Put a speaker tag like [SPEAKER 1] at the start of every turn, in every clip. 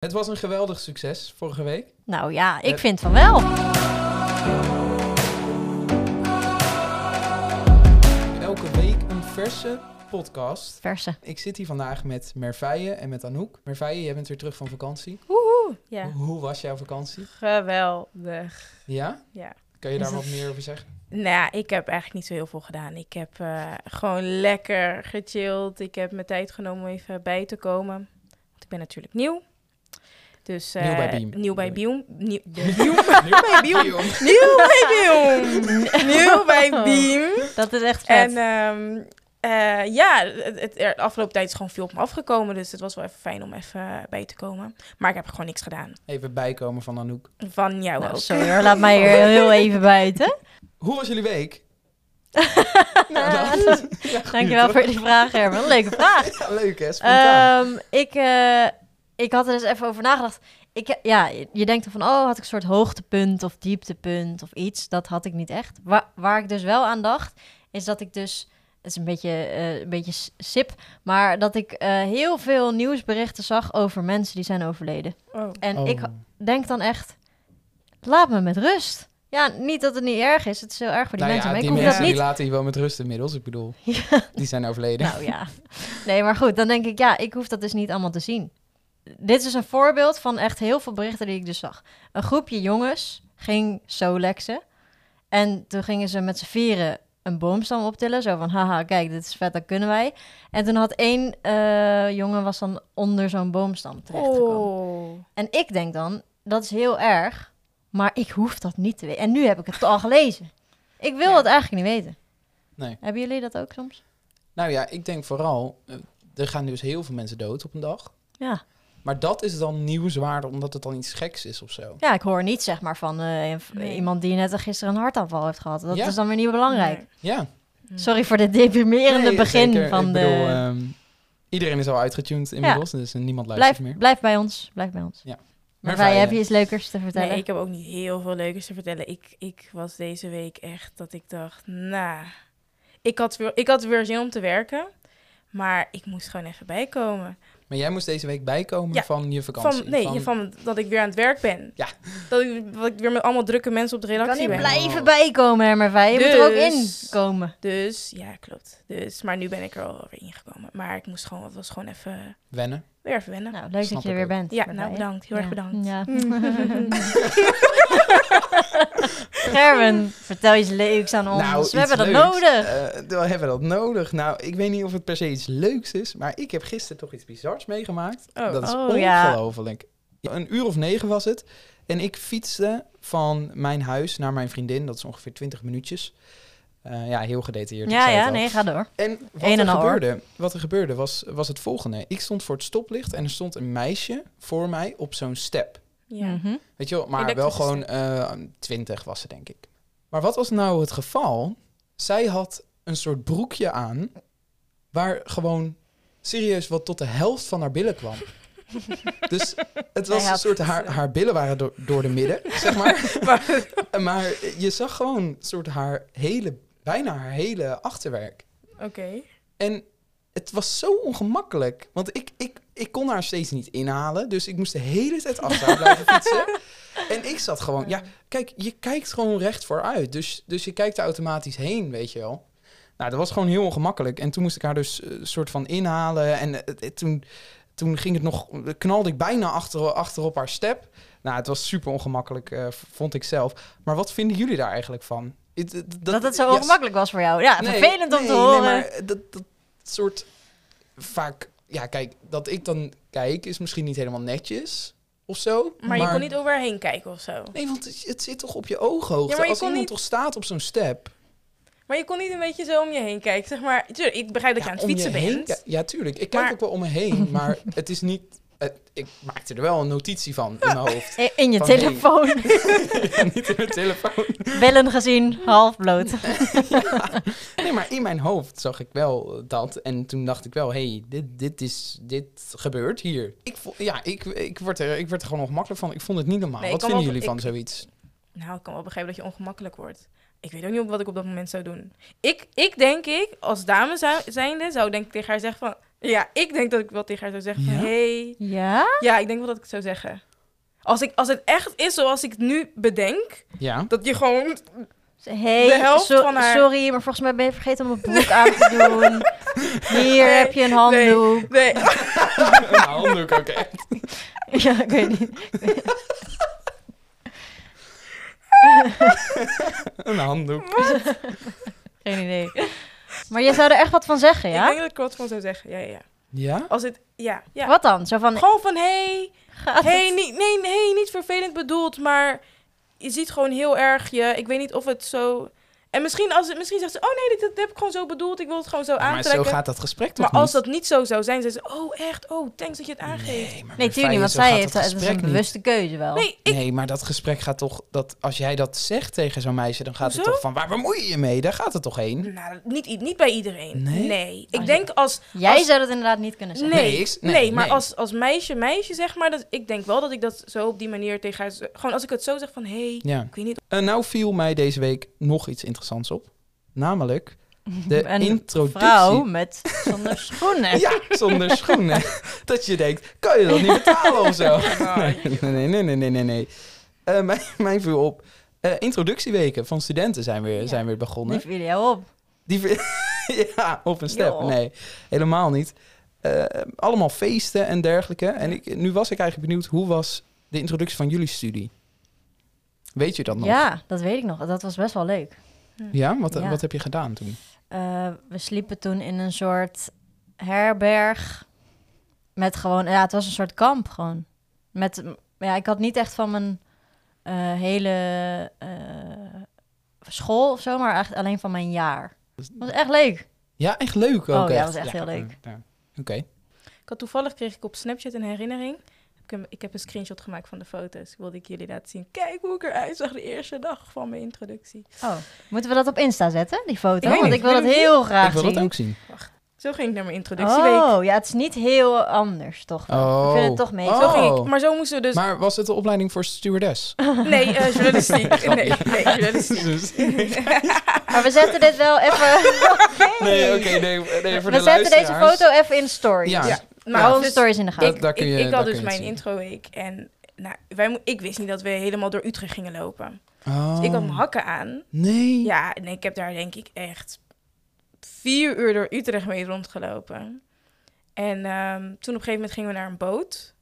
[SPEAKER 1] Het was een geweldig succes vorige week.
[SPEAKER 2] Nou ja, ik
[SPEAKER 1] Eh.
[SPEAKER 2] vind van wel.
[SPEAKER 1] Elke week een verse podcast.
[SPEAKER 2] Verse.
[SPEAKER 1] Ik zit hier vandaag met Merveille en met Anouk. Merveille, jij bent weer terug van vakantie.
[SPEAKER 3] Woehoe. Ja,
[SPEAKER 1] Hoe- Hoe was jouw vakantie?
[SPEAKER 3] geweldig.
[SPEAKER 1] Ja?
[SPEAKER 3] Ja.
[SPEAKER 1] Kan je daar
[SPEAKER 2] Is
[SPEAKER 1] wat
[SPEAKER 2] het-
[SPEAKER 1] meer over zeggen?
[SPEAKER 3] Nou, ja, ik heb eigenlijk niet zo heel veel gedaan. Ik heb eh, gewoon lekker gechilled. Ik heb mijn tijd genomen om even bij te komen. Want ik ben natuurlijk nieuw. Dus, eh,
[SPEAKER 1] Nieuw bij Beam.
[SPEAKER 3] Nieuw bij Beam. Nieuw,
[SPEAKER 1] Jong.
[SPEAKER 3] nieuw bij Beam. Nieuw bij
[SPEAKER 1] Oh.
[SPEAKER 3] Beam.
[SPEAKER 2] Dat is echt vet.
[SPEAKER 3] En ehm, eh, ja, het, het, er- de afgelopen tijd is gewoon veel op me afgekomen. Dus het was wel even fijn om even bij te komen. Maar ik heb gewoon niks gedaan.
[SPEAKER 1] Even bijkomen van Anouk.
[SPEAKER 3] Van jou
[SPEAKER 2] nou,
[SPEAKER 3] ook.
[SPEAKER 2] sorry hoor, laat mij hier heel even buiten.
[SPEAKER 1] Hoe was jullie week? Nou, dat- ja, goed,
[SPEAKER 2] Dankjewel
[SPEAKER 1] toch?
[SPEAKER 2] voor die vraag, Herman. Leuke vraag.
[SPEAKER 1] Ja, leuk hè, spontaan.
[SPEAKER 2] Ehm, ik, eh, ik had er eens even over nagedacht. Ik, eh, ja, je- je denkt dan van, oh, had ik een soort hoogtepunt of dieptepunt of iets. Dat had ik niet echt. Waar, waar ik dus wel aan dacht, is dat ik dus... Het is een beetje, eh, een beetje s- sip, maar dat ik eh, heel veel nieuwsberichten zag over mensen die zijn overleden.
[SPEAKER 3] Oh.
[SPEAKER 2] Eh, En
[SPEAKER 1] Oh.
[SPEAKER 2] ik denk dan echt, laat me met rust. Ja, niet dat het niet erg is. Het is heel erg voor die
[SPEAKER 1] Nou ja,
[SPEAKER 2] mensen, maar
[SPEAKER 1] die
[SPEAKER 2] ik hoef
[SPEAKER 1] mensen
[SPEAKER 2] dat
[SPEAKER 1] die
[SPEAKER 2] niet
[SPEAKER 1] laten je wel met rust inmiddels. Ik bedoel, die zijn overleden.
[SPEAKER 2] Nou ja. Nee, maar goed, dan denk ik, ja, ik hoef dat dus niet allemaal te zien. Dit is een voorbeeld van echt heel veel berichten die ik dus zag. Een groepje jongens ging solexen. En toen gingen ze met z'n vieren een boomstam optillen. Zo van, haha, kijk, dit is vet, dat kunnen wij. En toen had één eh, jongen was dan onder zo'n boomstam terechtgekomen.
[SPEAKER 3] Oh.
[SPEAKER 2] En ik denk dan, dat is heel erg, maar ik hoef dat niet te weten. En nu heb ik het al gelezen. Ik wil
[SPEAKER 3] Ja.
[SPEAKER 2] het eigenlijk niet weten.
[SPEAKER 1] Nee.
[SPEAKER 2] Hebben jullie dat ook soms?
[SPEAKER 1] Nou ja, ik denk vooral, eh, er gaan dus heel veel mensen dood op een dag.
[SPEAKER 2] Ja.
[SPEAKER 1] Maar dat is dan nieuwswaarde omdat het dan iets geks is of zo.
[SPEAKER 2] Ja, ik hoor niet zeg maar van eh, een-
[SPEAKER 3] Nee.
[SPEAKER 2] iemand die net gisteren een hartaanval heeft gehad. Dat
[SPEAKER 1] Ja.
[SPEAKER 2] is dan weer niet belangrijk.
[SPEAKER 1] Ja.
[SPEAKER 3] Mm.
[SPEAKER 2] Sorry voor dit deprimerende
[SPEAKER 1] Nee,
[SPEAKER 2] begin
[SPEAKER 1] zeker.
[SPEAKER 2] van
[SPEAKER 1] Ik
[SPEAKER 2] de...
[SPEAKER 1] bedoel, ehm, iedereen is al uitgetuned inmiddels, dus niemand luistert
[SPEAKER 2] blijf,
[SPEAKER 1] meer.
[SPEAKER 2] blijf bij ons, blijf bij ons.
[SPEAKER 1] Ja.
[SPEAKER 2] Maar
[SPEAKER 1] Merveille.
[SPEAKER 2] wij hebben iets leukers te vertellen.
[SPEAKER 3] Nee, ik heb ook niet heel veel leukers te vertellen. Ik, ik was deze week echt dat ik dacht, nou, ik, had weer, ik had weer zin om te werken, maar ik moest gewoon even bijkomen.
[SPEAKER 1] Maar jij moest deze week bijkomen
[SPEAKER 3] Ja,
[SPEAKER 1] van je
[SPEAKER 3] Van,
[SPEAKER 1] vakantie.
[SPEAKER 3] nee, van... dat ik weer aan het werk ben.
[SPEAKER 1] Ja.
[SPEAKER 3] Dat ik, dat ik weer met allemaal drukke mensen op de
[SPEAKER 2] kan
[SPEAKER 3] redactie
[SPEAKER 2] niet
[SPEAKER 3] ben.
[SPEAKER 2] blijven bijkomen, hè, Merveille. Je moet er ook
[SPEAKER 3] Dus-
[SPEAKER 2] in komen.
[SPEAKER 3] Dus, ja, klopt. Dus, maar nu ben ik er alweer ingekomen. Maar ik moest gewoon, het was gewoon even,
[SPEAKER 1] Wennen.
[SPEAKER 3] weer even wennen.
[SPEAKER 2] Nou, leuk
[SPEAKER 1] Snap
[SPEAKER 2] dat je
[SPEAKER 1] ik
[SPEAKER 2] er weer
[SPEAKER 1] ook.
[SPEAKER 2] bent.
[SPEAKER 3] ja, nou
[SPEAKER 2] Merveille.
[SPEAKER 3] bedankt. Heel erg
[SPEAKER 2] Ja.
[SPEAKER 3] bedankt.
[SPEAKER 2] Ja. Gerben, vertel iets leuks aan ons.
[SPEAKER 1] Nou,
[SPEAKER 2] We
[SPEAKER 1] iets
[SPEAKER 2] hebben dat
[SPEAKER 1] leuks.
[SPEAKER 2] nodig.
[SPEAKER 1] Eh, we hebben dat nodig. Nou, ik weet niet of het per se iets leuks is, maar ik heb gisteren toch iets bizars meegemaakt.
[SPEAKER 3] Oh.
[SPEAKER 1] dat is
[SPEAKER 2] oh, ja.
[SPEAKER 1] ongelooflijk. Een uur of negen was het. En ik fietste van mijn huis naar mijn vriendin. Dat is ongeveer 20 minuutjes. Eh, ja, heel gedetailleerd. ik
[SPEAKER 2] Ja,
[SPEAKER 1] zei het
[SPEAKER 2] ja,
[SPEAKER 1] al.
[SPEAKER 2] nee, ga door.
[SPEAKER 1] En wat
[SPEAKER 2] Een en
[SPEAKER 1] er,
[SPEAKER 2] al, hoor.
[SPEAKER 1] gebeurde, wat er gebeurde was, was het volgende. Ik stond voor het stoplicht en er stond een meisje voor mij op zo'n step.
[SPEAKER 3] Ja.
[SPEAKER 2] Mhm.
[SPEAKER 1] Weet je wel, maar wel
[SPEAKER 3] Elektrische
[SPEAKER 1] gewoon eh, twintig was ze, denk ik. Maar wat was nou het geval? Zij had een soort broekje aan waar gewoon serieus wat tot de helft van haar billen kwam. dus het was
[SPEAKER 2] Hij
[SPEAKER 1] een
[SPEAKER 2] had-
[SPEAKER 1] soort, haar, haar billen waren door, door de midden, zeg maar.
[SPEAKER 3] Maar-
[SPEAKER 1] Maar je zag gewoon soort haar hele, bijna haar hele achterwerk.
[SPEAKER 3] Oké.
[SPEAKER 1] En het was zo ongemakkelijk. Want ik, ik, ik kon haar steeds niet inhalen. Dus ik moest de hele tijd achter haar blijven fietsen. En ik zat gewoon... Ja, kijk, je kijkt gewoon recht vooruit. Dus, dus je kijkt er automatisch heen, weet je wel. Nou, dat was gewoon heel ongemakkelijk. En toen moest ik haar dus eh, soort van inhalen. En eh, eh, toen, toen ging het nog... knalde ik bijna achter, achter op haar step. Nou, het was super ongemakkelijk, eh, v- vond ik zelf. Maar wat vinden jullie daar eigenlijk van? Het- het-
[SPEAKER 2] Dat, het zo
[SPEAKER 1] ja,
[SPEAKER 2] ongemakkelijk was voor jou. Ja,
[SPEAKER 1] Nee,
[SPEAKER 2] vervelend om
[SPEAKER 1] nee,
[SPEAKER 2] te horen.
[SPEAKER 1] Nee, maar dat, dat soort vaak, ja, kijk, dat ik dan kijk is misschien niet helemaal netjes of zo.
[SPEAKER 3] Maar, je kon niet overheen kijken of zo.
[SPEAKER 1] Nee, want het, het zit toch op je ooghoogte.
[SPEAKER 3] Ja, maar je
[SPEAKER 1] Als
[SPEAKER 3] kon
[SPEAKER 1] iemand
[SPEAKER 3] niet-
[SPEAKER 1] toch staat op zo'n step.
[SPEAKER 3] Maar je kon niet een beetje zo om je heen kijken, zeg maar. Tuurlijk, ik begrijp dat je
[SPEAKER 1] ja,
[SPEAKER 3] aan het
[SPEAKER 1] om
[SPEAKER 3] fietsen
[SPEAKER 1] je heen
[SPEAKER 3] bent.
[SPEAKER 1] ki- ja, tuurlijk. Ik kijk
[SPEAKER 3] Maar-
[SPEAKER 1] ook wel om me heen, maar het is niet. het- ik maakte er wel een notitie van in mijn hoofd.
[SPEAKER 2] I- In je
[SPEAKER 1] Van,
[SPEAKER 2] telefoon.
[SPEAKER 1] niet in mijn telefoon.
[SPEAKER 2] Billen gezien, half bloot.
[SPEAKER 1] Nee, maar in mijn hoofd zag ik wel eh, dat. En toen dacht ik wel, hey, dit, dit, is, dit gebeurt hier. Ik vo- ja, ik, ik, word er, ik werd er gewoon ongemakkelijk van. Ik vond het niet normaal.
[SPEAKER 3] Nee,
[SPEAKER 1] Wat
[SPEAKER 3] ik kan
[SPEAKER 1] vinden
[SPEAKER 3] wel-
[SPEAKER 1] jullie van
[SPEAKER 3] ik-
[SPEAKER 1] zoiets?
[SPEAKER 3] Nou, ik kan wel begrijpen dat je ongemakkelijk wordt. Ik weet ook niet wat ik op dat moment zou doen. Ik, ik denk ik, als dame zou, zijnde, zou ik denk ik tegen haar zeggen van... Ja, ik denk dat ik wel tegen haar zou zeggen van...
[SPEAKER 1] Ja?
[SPEAKER 3] Hey.
[SPEAKER 2] Ja?
[SPEAKER 3] Ja, ik denk wel dat ik het zou zeggen. Als, ik, als het echt is zoals ik het nu bedenk...
[SPEAKER 1] Ja.
[SPEAKER 3] Dat je gewoon...
[SPEAKER 2] Hey,
[SPEAKER 3] De helft
[SPEAKER 2] so-
[SPEAKER 3] van haar-
[SPEAKER 2] sorry, maar volgens mij ben je vergeten om een broek aan te doen. Hier
[SPEAKER 3] Nee,
[SPEAKER 2] heb je een handdoek.
[SPEAKER 3] Nee,
[SPEAKER 1] Een handdoek ook echt.
[SPEAKER 2] Ja, ik weet niet.
[SPEAKER 1] Een handdoek.
[SPEAKER 2] Geen idee. Maar je zou er echt wat van zeggen,
[SPEAKER 3] ik
[SPEAKER 2] ja?
[SPEAKER 3] denk dat ik er wat van zou zeggen. Ja, ja, ja.
[SPEAKER 1] Ja?
[SPEAKER 3] Als het... Ja, ja.
[SPEAKER 2] Wat dan? Zo van,
[SPEAKER 3] Gewoon van, hey,
[SPEAKER 2] gaat
[SPEAKER 3] hey,
[SPEAKER 2] het-
[SPEAKER 3] niet, nee, nee, niet vervelend bedoeld, maar je ziet gewoon heel erg je... Ik weet niet of het zo... En misschien, als het, misschien zegt ze, oh nee, dit, dit heb ik gewoon zo bedoeld. Ik wil het gewoon zo
[SPEAKER 1] Maar zo
[SPEAKER 3] aantrekken.
[SPEAKER 1] gaat dat gesprek toch
[SPEAKER 3] Maar als
[SPEAKER 1] niet?
[SPEAKER 3] dat niet zo zou zijn, zei ze, oh echt, oh, thanks dat je het aangeeft.
[SPEAKER 1] maar
[SPEAKER 2] Nee,
[SPEAKER 1] Marfijn,
[SPEAKER 2] tuurlijk niet, want
[SPEAKER 1] zo
[SPEAKER 2] zij
[SPEAKER 1] gaat
[SPEAKER 2] heeft...
[SPEAKER 1] dat
[SPEAKER 2] Het is
[SPEAKER 1] gesprek
[SPEAKER 2] een
[SPEAKER 1] niet.
[SPEAKER 2] bewuste keuze wel.
[SPEAKER 3] Nee, ik,
[SPEAKER 1] Oh, Nee, maar dat gesprek gaat toch... Dat, als jij dat zegt tegen zo'n meisje, dan gaat
[SPEAKER 3] Hoezo?
[SPEAKER 1] het toch van... Waar bemoei je je mee? Daar gaat het toch heen?
[SPEAKER 3] nou, niet, i- niet bij iedereen.
[SPEAKER 1] Nee?
[SPEAKER 3] Nee.
[SPEAKER 2] Oh,
[SPEAKER 3] Ik denk als...
[SPEAKER 2] Jij
[SPEAKER 3] als-
[SPEAKER 2] zou dat inderdaad niet kunnen
[SPEAKER 3] Nee,
[SPEAKER 2] zeggen.
[SPEAKER 1] Nee,
[SPEAKER 3] nee,
[SPEAKER 1] ik- nee,
[SPEAKER 3] maar
[SPEAKER 1] nee.
[SPEAKER 3] Als, als meisje, meisje zeg maar, dat, ik denk wel dat ik dat zo op die manier tegen haar... z- Gewoon als ik het zo zeg van, hey,
[SPEAKER 1] Ja.
[SPEAKER 3] ik weet niet...
[SPEAKER 1] Eh, nou viel mij deze week nog iets interessants op. Namelijk de
[SPEAKER 2] Een
[SPEAKER 1] introductie...
[SPEAKER 2] Vrouw met zonder schoenen.
[SPEAKER 1] Ja, zonder schoenen. dat je denkt, kan je dat niet betalen of zo? Nee, nee, nee, nee, nee, nee. nee. Eh, mijn, mijn viel op. eh, introductieweken van studenten zijn weer,
[SPEAKER 2] Ja.
[SPEAKER 1] zijn weer begonnen.
[SPEAKER 2] Die viel jou op.
[SPEAKER 1] Die ver- ja, op een step.
[SPEAKER 2] Joh.
[SPEAKER 1] Nee, helemaal niet. Eh, allemaal feesten en dergelijke. En ik, nu was ik eigenlijk benieuwd, hoe was de introductie van jullie studie? Weet je dat nog?
[SPEAKER 2] Ja, dat weet ik nog. Dat was best wel leuk.
[SPEAKER 1] Ja? Wat,
[SPEAKER 2] Ja.
[SPEAKER 1] wat heb je gedaan toen?
[SPEAKER 2] Eh, we sliepen toen in een soort herberg. Met gewoon, ja, het was een soort kamp gewoon. Met, ja, ik had niet echt van mijn eh, hele eh, school of zo, maar echt alleen van mijn jaar.
[SPEAKER 1] Dus-
[SPEAKER 2] Het was echt leuk.
[SPEAKER 1] Ja, echt leuk ook.
[SPEAKER 2] Oh, ja,
[SPEAKER 1] echt.
[SPEAKER 2] was echt heel leuk.
[SPEAKER 1] ja. Oké.
[SPEAKER 3] Ik had toevallig kreeg ik op Snapchat een herinnering. Ik heb, ik heb een screenshot gemaakt van de foto's. Wilde ik jullie laten zien. Kijk hoe ik eruit zag de eerste dag van mijn introductie.
[SPEAKER 2] Oh, moeten we dat op Insta zetten, die foto?
[SPEAKER 1] weet
[SPEAKER 2] Want
[SPEAKER 1] niet.
[SPEAKER 2] ik wil dat heel graag
[SPEAKER 1] Ik wil
[SPEAKER 2] zien.
[SPEAKER 1] dat ook zien.
[SPEAKER 3] Zo ging ik naar mijn introductieweek.
[SPEAKER 2] Oh, ja, het is niet heel anders, toch? wel.
[SPEAKER 1] Oh.
[SPEAKER 2] Ik vind het toch mee.
[SPEAKER 1] Oh.
[SPEAKER 3] Zo ging ik. Maar zo moesten we dus...
[SPEAKER 1] Maar was het de opleiding voor stewardess?
[SPEAKER 3] Nee, eh, journalistiek. Nee, nee, journalistiek.
[SPEAKER 1] Dus-
[SPEAKER 2] Maar we zetten dit wel even... Oké.
[SPEAKER 1] nee, oké, nee, nee, voor de
[SPEAKER 2] we zetten deze
[SPEAKER 1] luisteraars.
[SPEAKER 2] foto even in de stories.
[SPEAKER 1] Ja,
[SPEAKER 3] Ja.
[SPEAKER 2] Maar
[SPEAKER 3] Maar
[SPEAKER 2] hou onze
[SPEAKER 3] dus-
[SPEAKER 2] stories in de gaten.
[SPEAKER 1] Dat- daar kun je-
[SPEAKER 3] ik, ik
[SPEAKER 1] daar
[SPEAKER 3] had
[SPEAKER 1] kun
[SPEAKER 3] dus
[SPEAKER 1] je het
[SPEAKER 3] mijn
[SPEAKER 1] zien.
[SPEAKER 3] introweek en nou, wij, mo- ik wist niet dat we helemaal door Utrecht gingen lopen.
[SPEAKER 1] Oh.
[SPEAKER 3] Dus ik had mijn hakken aan.
[SPEAKER 1] Nee.
[SPEAKER 3] Ja, en ik heb daar denk ik echt vier uur door Utrecht mee rondgelopen. En ehm, toen op een gegeven moment gingen we naar een boot.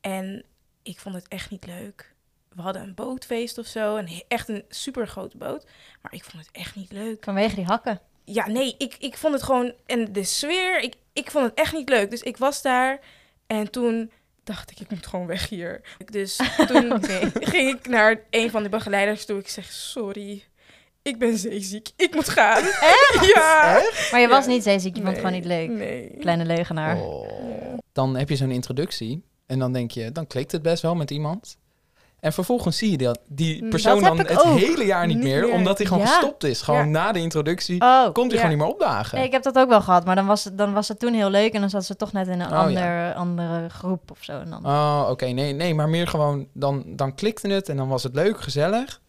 [SPEAKER 3] En ik vond het echt niet leuk. We hadden een bootfeest of zo. En he- echt een super grote boot. Maar ik vond het echt niet leuk.
[SPEAKER 2] Vanwege die hakken.
[SPEAKER 3] Ja, nee, ik, ik vond het gewoon... En de sfeer, ik, ik vond het echt niet leuk. Dus ik was daar en toen dacht ik, ik moet gewoon weg hier. Dus toen ging ik naar een van de begeleiders toe. Ik zeg, sorry, ik ben zeeziek. Ik moet gaan. Echt? Ja.
[SPEAKER 2] Maar je was
[SPEAKER 3] Ja.
[SPEAKER 2] niet zeeziek, je vond het
[SPEAKER 3] Nee,
[SPEAKER 2] gewoon niet leuk.
[SPEAKER 3] Nee.
[SPEAKER 2] Kleine leugenaar.
[SPEAKER 1] Oh. Dan heb je zo'n introductie en dan denk je, dan klikt het best wel met iemand. En vervolgens zie je dat die
[SPEAKER 3] Mm,
[SPEAKER 1] persoon
[SPEAKER 2] Hmm, dat heb
[SPEAKER 1] dan
[SPEAKER 2] ik
[SPEAKER 1] het
[SPEAKER 2] ook.
[SPEAKER 1] hele jaar niet,
[SPEAKER 3] Niet
[SPEAKER 1] meer,
[SPEAKER 3] meer.
[SPEAKER 1] omdat hij gewoon
[SPEAKER 2] Ja.
[SPEAKER 1] gestopt is. Gewoon
[SPEAKER 3] Ja.
[SPEAKER 1] na de introductie
[SPEAKER 2] Oh,
[SPEAKER 1] komt hij
[SPEAKER 3] ja.
[SPEAKER 1] gewoon niet meer opdagen.
[SPEAKER 2] nee, ik heb dat ook wel gehad. Maar dan was het, dan was het toen heel leuk en dan zat ze toch net in een
[SPEAKER 1] Oh, ja.
[SPEAKER 2] ander, andere groep of zo. En dan...
[SPEAKER 1] Oh, oké, nee, nee, maar meer gewoon, dan, dan klikte het en dan was het leuk, gezellig.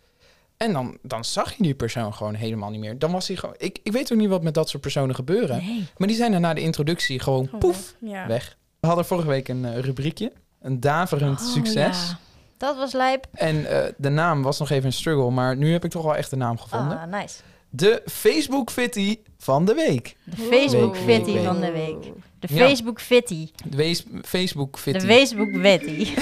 [SPEAKER 1] En dan, dan zag je die persoon gewoon helemaal niet meer. Dan was hij gewoon, ik, ik weet ook niet wat met dat soort personen gebeuren.
[SPEAKER 2] Nee. Oh,
[SPEAKER 1] Maar die zijn dan na de introductie gewoon
[SPEAKER 3] Gewoon
[SPEAKER 1] poef,
[SPEAKER 3] weg. Ja.
[SPEAKER 1] weg. We hadden vorige week een eh, rubriekje, een daverend
[SPEAKER 2] Oh,
[SPEAKER 1] succes.
[SPEAKER 2] ja. Dat was lijp.
[SPEAKER 1] En eh, de naam was nog even een struggle, maar nu heb ik toch wel echt de naam gevonden.
[SPEAKER 2] Ah, nice.
[SPEAKER 1] De Facebook Fitty van de week.
[SPEAKER 2] De Facebook
[SPEAKER 1] Week,
[SPEAKER 2] Fitty
[SPEAKER 1] week, week.
[SPEAKER 2] van de week. De
[SPEAKER 1] Ja.
[SPEAKER 2] Facebook Fitty.
[SPEAKER 1] De wees- Facebook
[SPEAKER 2] De
[SPEAKER 1] Fitty.
[SPEAKER 2] Facebook Witty.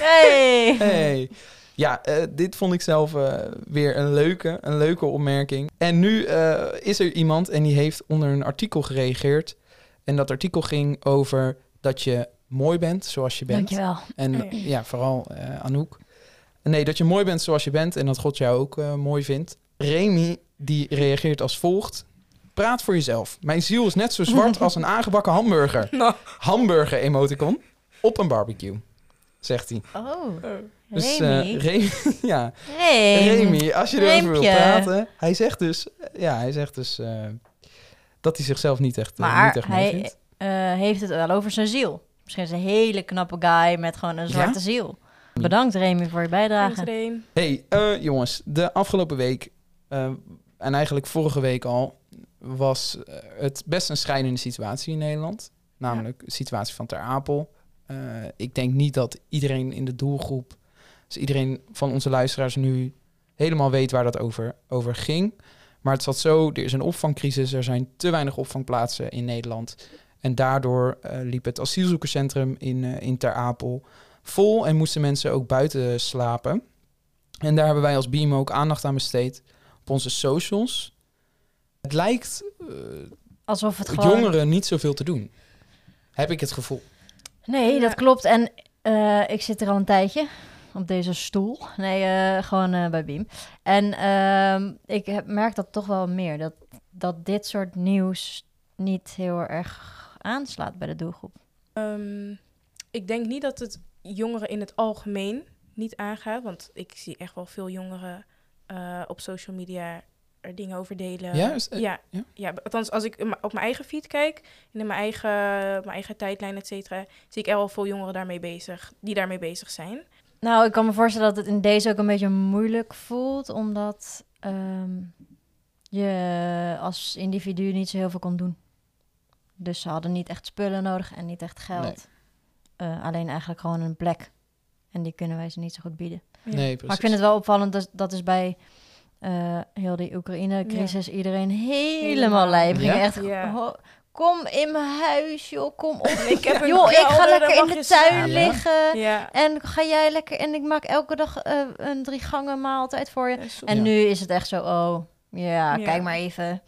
[SPEAKER 2] hey.
[SPEAKER 1] Hey. Ja, eh, dit vond ik zelf eh, weer een leuke, een leuke opmerking. En nu eh, is er iemand en die heeft onder een artikel gereageerd. En dat artikel ging over dat je mooi bent zoals je bent.
[SPEAKER 2] Dankjewel.
[SPEAKER 1] En
[SPEAKER 3] Oh ja.
[SPEAKER 1] ja, vooral eh, Anouk. Nee, dat je mooi bent zoals je bent en dat God jou ook eh, mooi vindt. Remy, die reageert als volgt. Praat voor jezelf. Mijn ziel is net zo zwart als een aangebakken hamburger.
[SPEAKER 3] Nou.
[SPEAKER 1] Hamburger emoticon op een barbecue, zegt hij.
[SPEAKER 2] Oh,
[SPEAKER 3] Oh.
[SPEAKER 1] Dus eh,
[SPEAKER 2] Remy.
[SPEAKER 1] Remy, ja,
[SPEAKER 2] Hey.
[SPEAKER 1] Remy, als je erover wil
[SPEAKER 2] Reempje.
[SPEAKER 1] praten. Hij zegt dus, ja, hij zegt dus eh, dat hij zichzelf niet echt, eh, niet
[SPEAKER 2] Maar
[SPEAKER 1] echt mooi
[SPEAKER 2] hij
[SPEAKER 1] vindt.
[SPEAKER 2] eh, heeft het wel over zijn ziel. Misschien is hij een hele knappe guy met gewoon een zwarte ziel. Bedankt Remy voor je
[SPEAKER 3] Thanks,
[SPEAKER 2] bijdrage.
[SPEAKER 3] Reem.
[SPEAKER 1] hey, eh, jongens, de afgelopen week eh, en eigenlijk vorige week al was eh, het best een schrijnende situatie in Nederland. Namelijk de situatie van Ter Apel. Eh, ik denk niet dat iedereen in de doelgroep, dus iedereen van onze luisteraars nu helemaal weet waar dat over, over ging. Maar het zat zo, er is een opvangcrisis, er zijn te weinig opvangplaatsen in Nederland. En daardoor eh, liep het asielzoekerscentrum in, eh, in Ter Apel vol en moesten mensen ook buiten slapen. En daar hebben wij als BIM ook aandacht aan besteed op onze socials. Het lijkt eh,
[SPEAKER 2] Alsof het gewoon...
[SPEAKER 1] jongeren niet zoveel te doen. Heb ik het gevoel.
[SPEAKER 2] Nee, dat
[SPEAKER 3] Ja.
[SPEAKER 2] klopt. En eh, ik zit er al een tijdje op deze stoel. Nee, eh, gewoon eh, bij Beam. En ehm, ik heb- merk dat toch wel meer. Dat, dat dit soort nieuws niet heel erg aanslaat bij de doelgroep.
[SPEAKER 3] Ehm, ik denk niet dat het jongeren in het algemeen niet aangaat. Want ik zie echt wel veel jongeren eh, op social media er dingen over delen.
[SPEAKER 1] Ja, is- eh,
[SPEAKER 3] ja,
[SPEAKER 1] ja?
[SPEAKER 3] ja. althans, als ik in mijn- op mijn eigen feed kijk en in mijn eigen, mijn eigen tijdlijn, et cetera, zie ik er wel veel jongeren daarmee bezig, die daarmee bezig zijn.
[SPEAKER 2] Nou, ik kan me voorstellen dat het in deze ook een beetje moeilijk voelt. Omdat ehm, je als individu niet zo heel veel kon doen. Dus ze hadden niet echt spullen nodig en niet echt geld.
[SPEAKER 1] Nee.
[SPEAKER 2] Eh, alleen eigenlijk gewoon een plek. En die kunnen wij ze niet zo goed bieden.
[SPEAKER 3] Ja.
[SPEAKER 1] Eh, Nee, precies.
[SPEAKER 2] Maar ik vind het wel opvallend dat, dat is bij eh, heel die Oekraïne-crisis iedereen helemaal
[SPEAKER 3] Helemaal.
[SPEAKER 2] lijp. Ging
[SPEAKER 1] Ja?
[SPEAKER 2] echt,
[SPEAKER 3] Ja.
[SPEAKER 2] ho- kom in mijn huis, joh, kom op.
[SPEAKER 3] Ik heb een
[SPEAKER 2] joh, ik
[SPEAKER 3] kelder,
[SPEAKER 2] ga
[SPEAKER 3] daar
[SPEAKER 2] lekker in
[SPEAKER 3] mag
[SPEAKER 2] de
[SPEAKER 3] je
[SPEAKER 2] tuin
[SPEAKER 3] slapen.
[SPEAKER 1] Ja.
[SPEAKER 2] liggen.
[SPEAKER 3] Ja,
[SPEAKER 2] En ga jij lekker, en ik maak elke dag eh, een drie gangen maaltijd voor je.
[SPEAKER 3] en soms-
[SPEAKER 2] En
[SPEAKER 1] Ja.
[SPEAKER 2] nu is het echt zo, oh, ja,
[SPEAKER 3] Ja.
[SPEAKER 2] kijk maar even.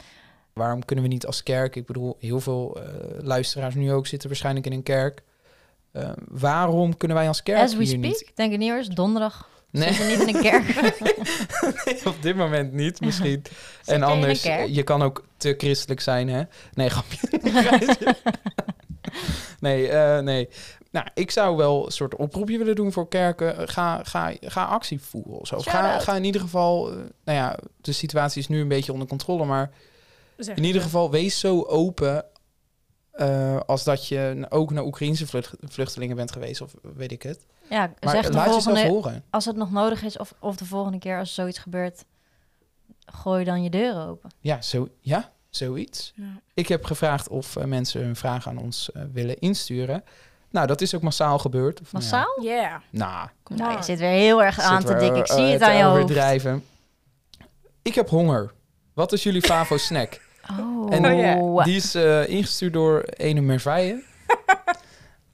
[SPEAKER 1] Waarom kunnen we niet als kerk, ik bedoel, heel veel eh, luisteraars nu ook zitten waarschijnlijk in een kerk. Eh, waarom kunnen wij als kerk
[SPEAKER 2] As we
[SPEAKER 1] hier
[SPEAKER 2] speak,
[SPEAKER 1] niet?
[SPEAKER 2] denk ik niet hoor, is donderdag.
[SPEAKER 1] Nee.
[SPEAKER 2] Zitten niet in een kerk.
[SPEAKER 1] Op dit moment niet, misschien. en
[SPEAKER 2] jij in een
[SPEAKER 1] anders, eh,
[SPEAKER 2] kerk?
[SPEAKER 1] je kan ook te christelijk zijn, hè? Nee, grapje. nee, eh, nee. Nou, ik zou wel een soort oproepje willen doen voor kerken. Eh, Ga, ga, ga actie voeren of zo. Of Ga,
[SPEAKER 2] Shout-out.
[SPEAKER 1] ga in ieder geval... eh, nou ja, de situatie is nu een beetje onder controle, maar...
[SPEAKER 3] zeg
[SPEAKER 1] In
[SPEAKER 3] ik
[SPEAKER 1] ieder
[SPEAKER 3] wel.
[SPEAKER 1] geval, wees zo open eh, als dat je n- ook naar Oekraïnse vlucht- vluchtelingen bent geweest, of weet ik het.
[SPEAKER 2] Ja,
[SPEAKER 1] Maar
[SPEAKER 2] zeg de
[SPEAKER 1] laat jezelf
[SPEAKER 2] volgende,
[SPEAKER 1] horen.
[SPEAKER 2] als het nog nodig is of, of de volgende keer als zoiets gebeurt, gooi dan je deuren open.
[SPEAKER 1] Ja, zo, ja, zoiets.
[SPEAKER 3] Ja.
[SPEAKER 1] Ik heb gevraagd of eh, mensen hun vragen aan ons eh, willen insturen. Nou, dat is ook massaal gebeurd. Of, nou ja,
[SPEAKER 2] Massaal?
[SPEAKER 3] Ja.
[SPEAKER 1] Nou,
[SPEAKER 3] Ja.
[SPEAKER 2] Nou, je zit weer heel erg aan
[SPEAKER 1] zitten
[SPEAKER 2] te
[SPEAKER 1] we,
[SPEAKER 2] dik. Ik
[SPEAKER 1] eh,
[SPEAKER 2] zie
[SPEAKER 1] eh,
[SPEAKER 2] het
[SPEAKER 1] te
[SPEAKER 2] aan je hoofd.
[SPEAKER 1] overdrijven. Ik heb honger. Wat is jullie favo-snack?
[SPEAKER 2] Oh.
[SPEAKER 1] En
[SPEAKER 3] Oh ja.
[SPEAKER 1] Die is eh, ingestuurd door Ene Merveille.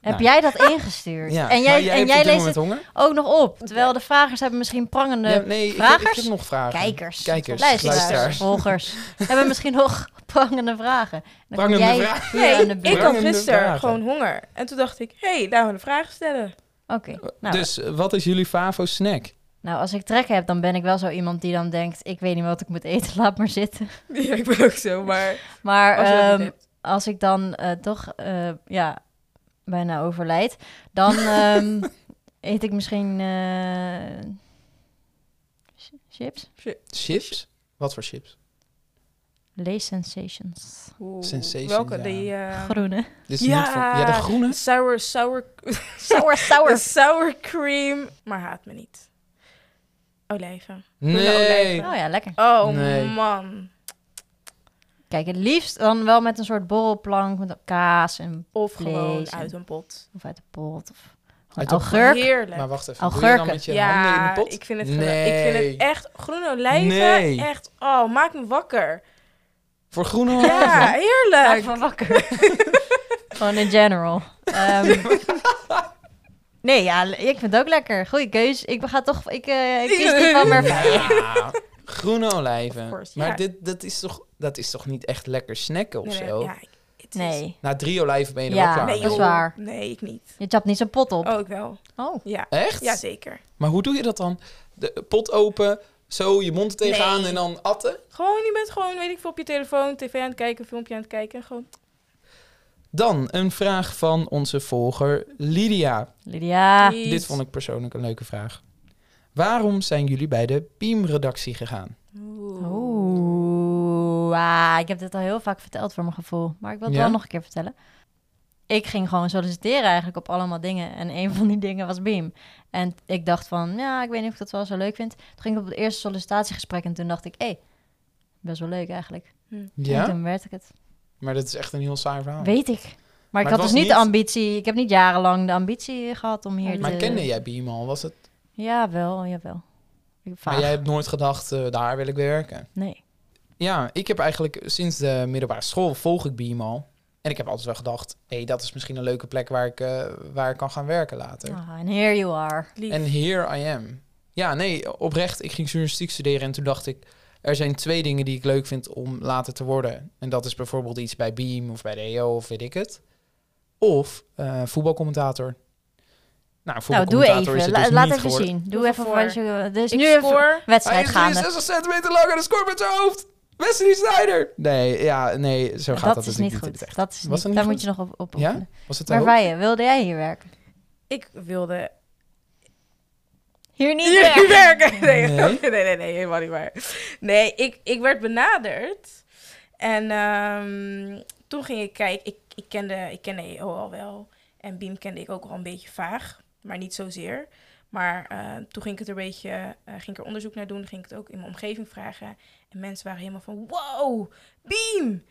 [SPEAKER 2] Heb
[SPEAKER 1] Nou.
[SPEAKER 2] jij dat ingestuurd?
[SPEAKER 1] Ja,
[SPEAKER 2] en
[SPEAKER 1] maar
[SPEAKER 2] jij, en
[SPEAKER 1] hebt
[SPEAKER 2] jij
[SPEAKER 1] op dit
[SPEAKER 2] leest
[SPEAKER 1] moment
[SPEAKER 2] het
[SPEAKER 1] honger?
[SPEAKER 2] ook nog op. Terwijl de vragers hebben misschien prangende
[SPEAKER 1] Ja, nee, ik heb- Ik,
[SPEAKER 2] vragers?
[SPEAKER 1] heb nog vragen.
[SPEAKER 2] kijkers,
[SPEAKER 1] Kijkers,
[SPEAKER 2] luisteraars,
[SPEAKER 1] luisteraars.
[SPEAKER 2] volgers. hebben misschien nog prangende vragen. Dan kom
[SPEAKER 1] Prangende
[SPEAKER 2] jij
[SPEAKER 1] vragen.
[SPEAKER 2] weer aan de
[SPEAKER 3] Nee, ik
[SPEAKER 2] beurt.
[SPEAKER 1] Brandende
[SPEAKER 3] had gisteren
[SPEAKER 1] vragen.
[SPEAKER 3] gewoon honger. En toen dacht ik, hé, hey, laten we een vraag stellen.
[SPEAKER 2] Oké, nou,
[SPEAKER 1] dus eh, wat is jullie favo-snack?
[SPEAKER 2] nou als ik trek heb, dan ben ik wel zo iemand die dan denkt... ik weet niet wat ik moet eten, laat maar zitten.
[SPEAKER 3] Ja, ik ben ook zo, maar...
[SPEAKER 2] Maar
[SPEAKER 1] Oh,
[SPEAKER 3] Als je dat niet
[SPEAKER 2] ehm,
[SPEAKER 3] hebt.
[SPEAKER 2] als ik dan eh, toch eh, ja, bijna overlijd, dan ehm, eet ik misschien eh, ch- chips.
[SPEAKER 1] Chips? Wat voor chips?
[SPEAKER 2] Lace Sensations.
[SPEAKER 3] Oeh,
[SPEAKER 1] Sensations,
[SPEAKER 3] Welke?
[SPEAKER 1] ja.
[SPEAKER 3] Die eh,
[SPEAKER 2] Groene.
[SPEAKER 1] Dit is
[SPEAKER 3] Ja.
[SPEAKER 1] niet voor- ja, de groene.
[SPEAKER 3] sour, sour,
[SPEAKER 2] Sour,
[SPEAKER 3] sour,
[SPEAKER 2] sour.
[SPEAKER 3] sour cream. Maar haat me niet. Olijven.
[SPEAKER 1] Nee.
[SPEAKER 2] Oh ja, lekker.
[SPEAKER 3] Oh
[SPEAKER 1] Nee.
[SPEAKER 3] man.
[SPEAKER 2] Kijk, het liefst dan wel met een soort borrelplank met kaas en
[SPEAKER 3] Of gewoon
[SPEAKER 2] Vlees en-
[SPEAKER 3] uit een pot.
[SPEAKER 2] of uit de pot of
[SPEAKER 1] Uit de-
[SPEAKER 2] augurk.
[SPEAKER 3] Heerlijk.
[SPEAKER 1] Maar wacht even, doe je
[SPEAKER 2] Augurken.
[SPEAKER 1] dan met je handen in de pot?
[SPEAKER 3] ik vind het, gewel-
[SPEAKER 1] nee.
[SPEAKER 3] ik vind het echt groene olijven.
[SPEAKER 1] Nee.
[SPEAKER 3] Echt, oh, maak me wakker.
[SPEAKER 1] Voor groene olijven?
[SPEAKER 3] Ja,
[SPEAKER 2] Maak
[SPEAKER 3] heerlijk.
[SPEAKER 2] me wakker. Gewoon in general. Ehm, nee, ja, l- ik vind het ook lekker. Goeie keus. Ik ga toch, ik, eh, ik kies die van Merveille.
[SPEAKER 1] Ja, Nou, groene olijven.
[SPEAKER 3] Of course, ja.
[SPEAKER 1] Maar dit, dat, is toch, dat is toch niet echt lekker snacken of
[SPEAKER 3] Nee,
[SPEAKER 1] zo?
[SPEAKER 3] ja, ik- het is-
[SPEAKER 2] Nee,
[SPEAKER 1] Na drie olijven ben je er
[SPEAKER 2] Ja,
[SPEAKER 1] wel klaar
[SPEAKER 3] Nee,
[SPEAKER 2] dat
[SPEAKER 1] mee.
[SPEAKER 2] is
[SPEAKER 3] joh.
[SPEAKER 2] waar.
[SPEAKER 3] Nee, ik niet.
[SPEAKER 2] je chapt niet zo'n pot op.
[SPEAKER 3] Oh, ik wel.
[SPEAKER 2] Oh.
[SPEAKER 3] Ja,
[SPEAKER 1] Echt?
[SPEAKER 3] ja zeker.
[SPEAKER 1] Maar hoe doe je dat dan? De pot open, zo je mond er tegenaan
[SPEAKER 3] Nee.
[SPEAKER 1] en dan atten?
[SPEAKER 3] Gewoon, je bent gewoon, weet ik veel, op je telefoon, tv aan het kijken, filmpje aan het kijken. Gewoon,
[SPEAKER 1] Dan een vraag van onze volger Lydia.
[SPEAKER 2] Lydia.
[SPEAKER 3] Niet.
[SPEAKER 1] Ah, Dit vond ik persoonlijk een leuke vraag. Waarom zijn jullie bij de Beam-redactie gegaan?
[SPEAKER 2] Oeh, ah, ik heb dit al heel vaak verteld voor mijn gevoel. Maar ik wil het
[SPEAKER 1] Ja?
[SPEAKER 2] wel nog een keer vertellen. Ik ging gewoon solliciteren eigenlijk op allemaal dingen. En een van die dingen was Beam. En ik dacht van, ja, ik weet niet of ik dat wel zo leuk vind. Toen ging ik op het eerste sollicitatiegesprek en toen dacht ik, hé, hey, best wel leuk eigenlijk. En
[SPEAKER 1] Ja?
[SPEAKER 2] toen werd ik het.
[SPEAKER 1] Maar dat is echt een heel saai verhaal.
[SPEAKER 2] Weet ik. Maar,
[SPEAKER 1] het
[SPEAKER 2] ik had
[SPEAKER 1] was
[SPEAKER 2] dus niet, de
[SPEAKER 1] niet-
[SPEAKER 2] ambitie. Ik heb niet jarenlang de ambitie gehad om hier
[SPEAKER 1] maar
[SPEAKER 2] te...
[SPEAKER 1] kende jij Beam al? Was het...
[SPEAKER 2] Ja, wel, jawel. Ik vaag.
[SPEAKER 1] Maar jij hebt nooit gedacht, eh, daar wil ik werken.
[SPEAKER 2] Nee.
[SPEAKER 1] Ja, ik heb eigenlijk sinds de middelbare school volg ik Beam al. En ik heb altijd wel gedacht, hé, hey, dat is misschien een leuke plek waar ik, eh, waar ik kan gaan werken later.
[SPEAKER 2] Ah, and here you are.
[SPEAKER 3] Lief.
[SPEAKER 1] En here I am. Ja, nee, oprecht. Ik ging journalistiek studeren en toen dacht ik... er zijn twee dingen die ik leuk vind om later te worden. En dat is bijvoorbeeld iets bij Beam of bij de EO of weet ik het. Of eh, voetbalcommentator. Nou,
[SPEAKER 2] Nou, doe
[SPEAKER 1] voetbalcommentator
[SPEAKER 2] even.
[SPEAKER 1] is het
[SPEAKER 2] La-
[SPEAKER 1] dus
[SPEAKER 2] laat
[SPEAKER 1] niet
[SPEAKER 2] even
[SPEAKER 1] geworden.
[SPEAKER 2] zien. Doe,
[SPEAKER 3] Doe
[SPEAKER 2] even
[SPEAKER 3] voor.
[SPEAKER 2] wat je... Er is
[SPEAKER 3] ik
[SPEAKER 2] nu even
[SPEAKER 3] scoor.
[SPEAKER 1] Hij
[SPEAKER 2] wedstrijd
[SPEAKER 1] is
[SPEAKER 2] gaande.
[SPEAKER 1] 63 centimeter lang en hij scoort met zijn hoofd. Wesley Sneijder. Nee, ja, nee, zo gaat dat,
[SPEAKER 2] Dat is
[SPEAKER 1] natuurlijk
[SPEAKER 2] niet
[SPEAKER 1] in het
[SPEAKER 2] goed.
[SPEAKER 1] echt.
[SPEAKER 2] Dat is
[SPEAKER 1] Was
[SPEAKER 2] niet,
[SPEAKER 1] dat
[SPEAKER 2] daar
[SPEAKER 1] niet
[SPEAKER 2] moet
[SPEAKER 1] goed?
[SPEAKER 2] je nog op, op
[SPEAKER 1] Ja?
[SPEAKER 2] oefenen.
[SPEAKER 1] Was het
[SPEAKER 2] Maar
[SPEAKER 1] ook?
[SPEAKER 2] wij, wilde jij hier werken?
[SPEAKER 3] Ik wilde
[SPEAKER 2] Hier niet
[SPEAKER 3] Hier
[SPEAKER 2] werken.
[SPEAKER 3] werken. Nee,
[SPEAKER 1] Nee?
[SPEAKER 3] nee, nee, nee, helemaal niet waar. Nee, ik, ik werd benaderd. En ehm, toen ging ik kijken. Ik, ik, kende, ik kende EO al wel. En Beam kende ik ook al een beetje vaag. Maar niet zozeer. Maar eh, toen ging ik het er een beetje, eh, ging ik er onderzoek naar doen. Ging ik het ook in mijn omgeving vragen. En mensen waren helemaal van, wow, Beam,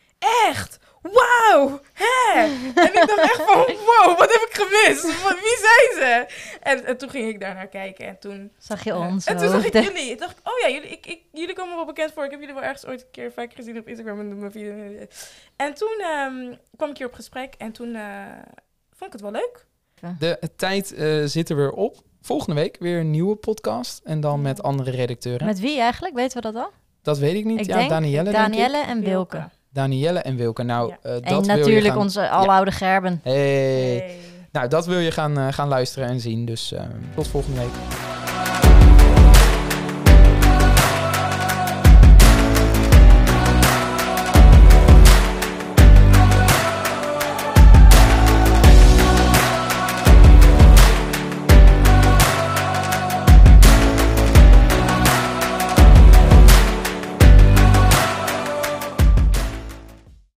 [SPEAKER 3] echt, wauw, hè. En ik dacht echt van, wow, wat heb ik gemist? Wat- Wie zijn ze? En, en toen ging ik daar naar kijken. En toen
[SPEAKER 2] Zag je
[SPEAKER 3] ja.
[SPEAKER 2] ons? eh,
[SPEAKER 3] En toen zag ik
[SPEAKER 2] hoofden?
[SPEAKER 3] jullie. Ik dacht, oh ja, jullie, ik, ik, jullie komen wel bekend voor. Ik heb jullie wel ergens ooit een keer vaak gezien op Instagram. En, op mijn video. en toen ehm, kwam ik hier op gesprek en toen eh, vond ik het wel leuk.
[SPEAKER 1] De tijd eh, zit er weer op. Volgende week weer een nieuwe podcast. En dan met andere redacteuren.
[SPEAKER 2] Met wie eigenlijk? Weten we dat al?
[SPEAKER 1] Dat weet ik niet.
[SPEAKER 2] Ik
[SPEAKER 1] ja,
[SPEAKER 2] denk
[SPEAKER 1] Danielle, denk ik.
[SPEAKER 2] Danielle en Wilke.
[SPEAKER 1] Danielle en Wilke. Nou,
[SPEAKER 3] Ja.
[SPEAKER 1] eh, dat
[SPEAKER 2] En
[SPEAKER 1] wil je
[SPEAKER 2] natuurlijk
[SPEAKER 1] gaan...
[SPEAKER 2] onze aloude Gerben.
[SPEAKER 1] Hey.
[SPEAKER 3] Hey.
[SPEAKER 1] Nou, dat wil je gaan, eh, gaan luisteren en zien. Dus eh, ehm, tot volgende week.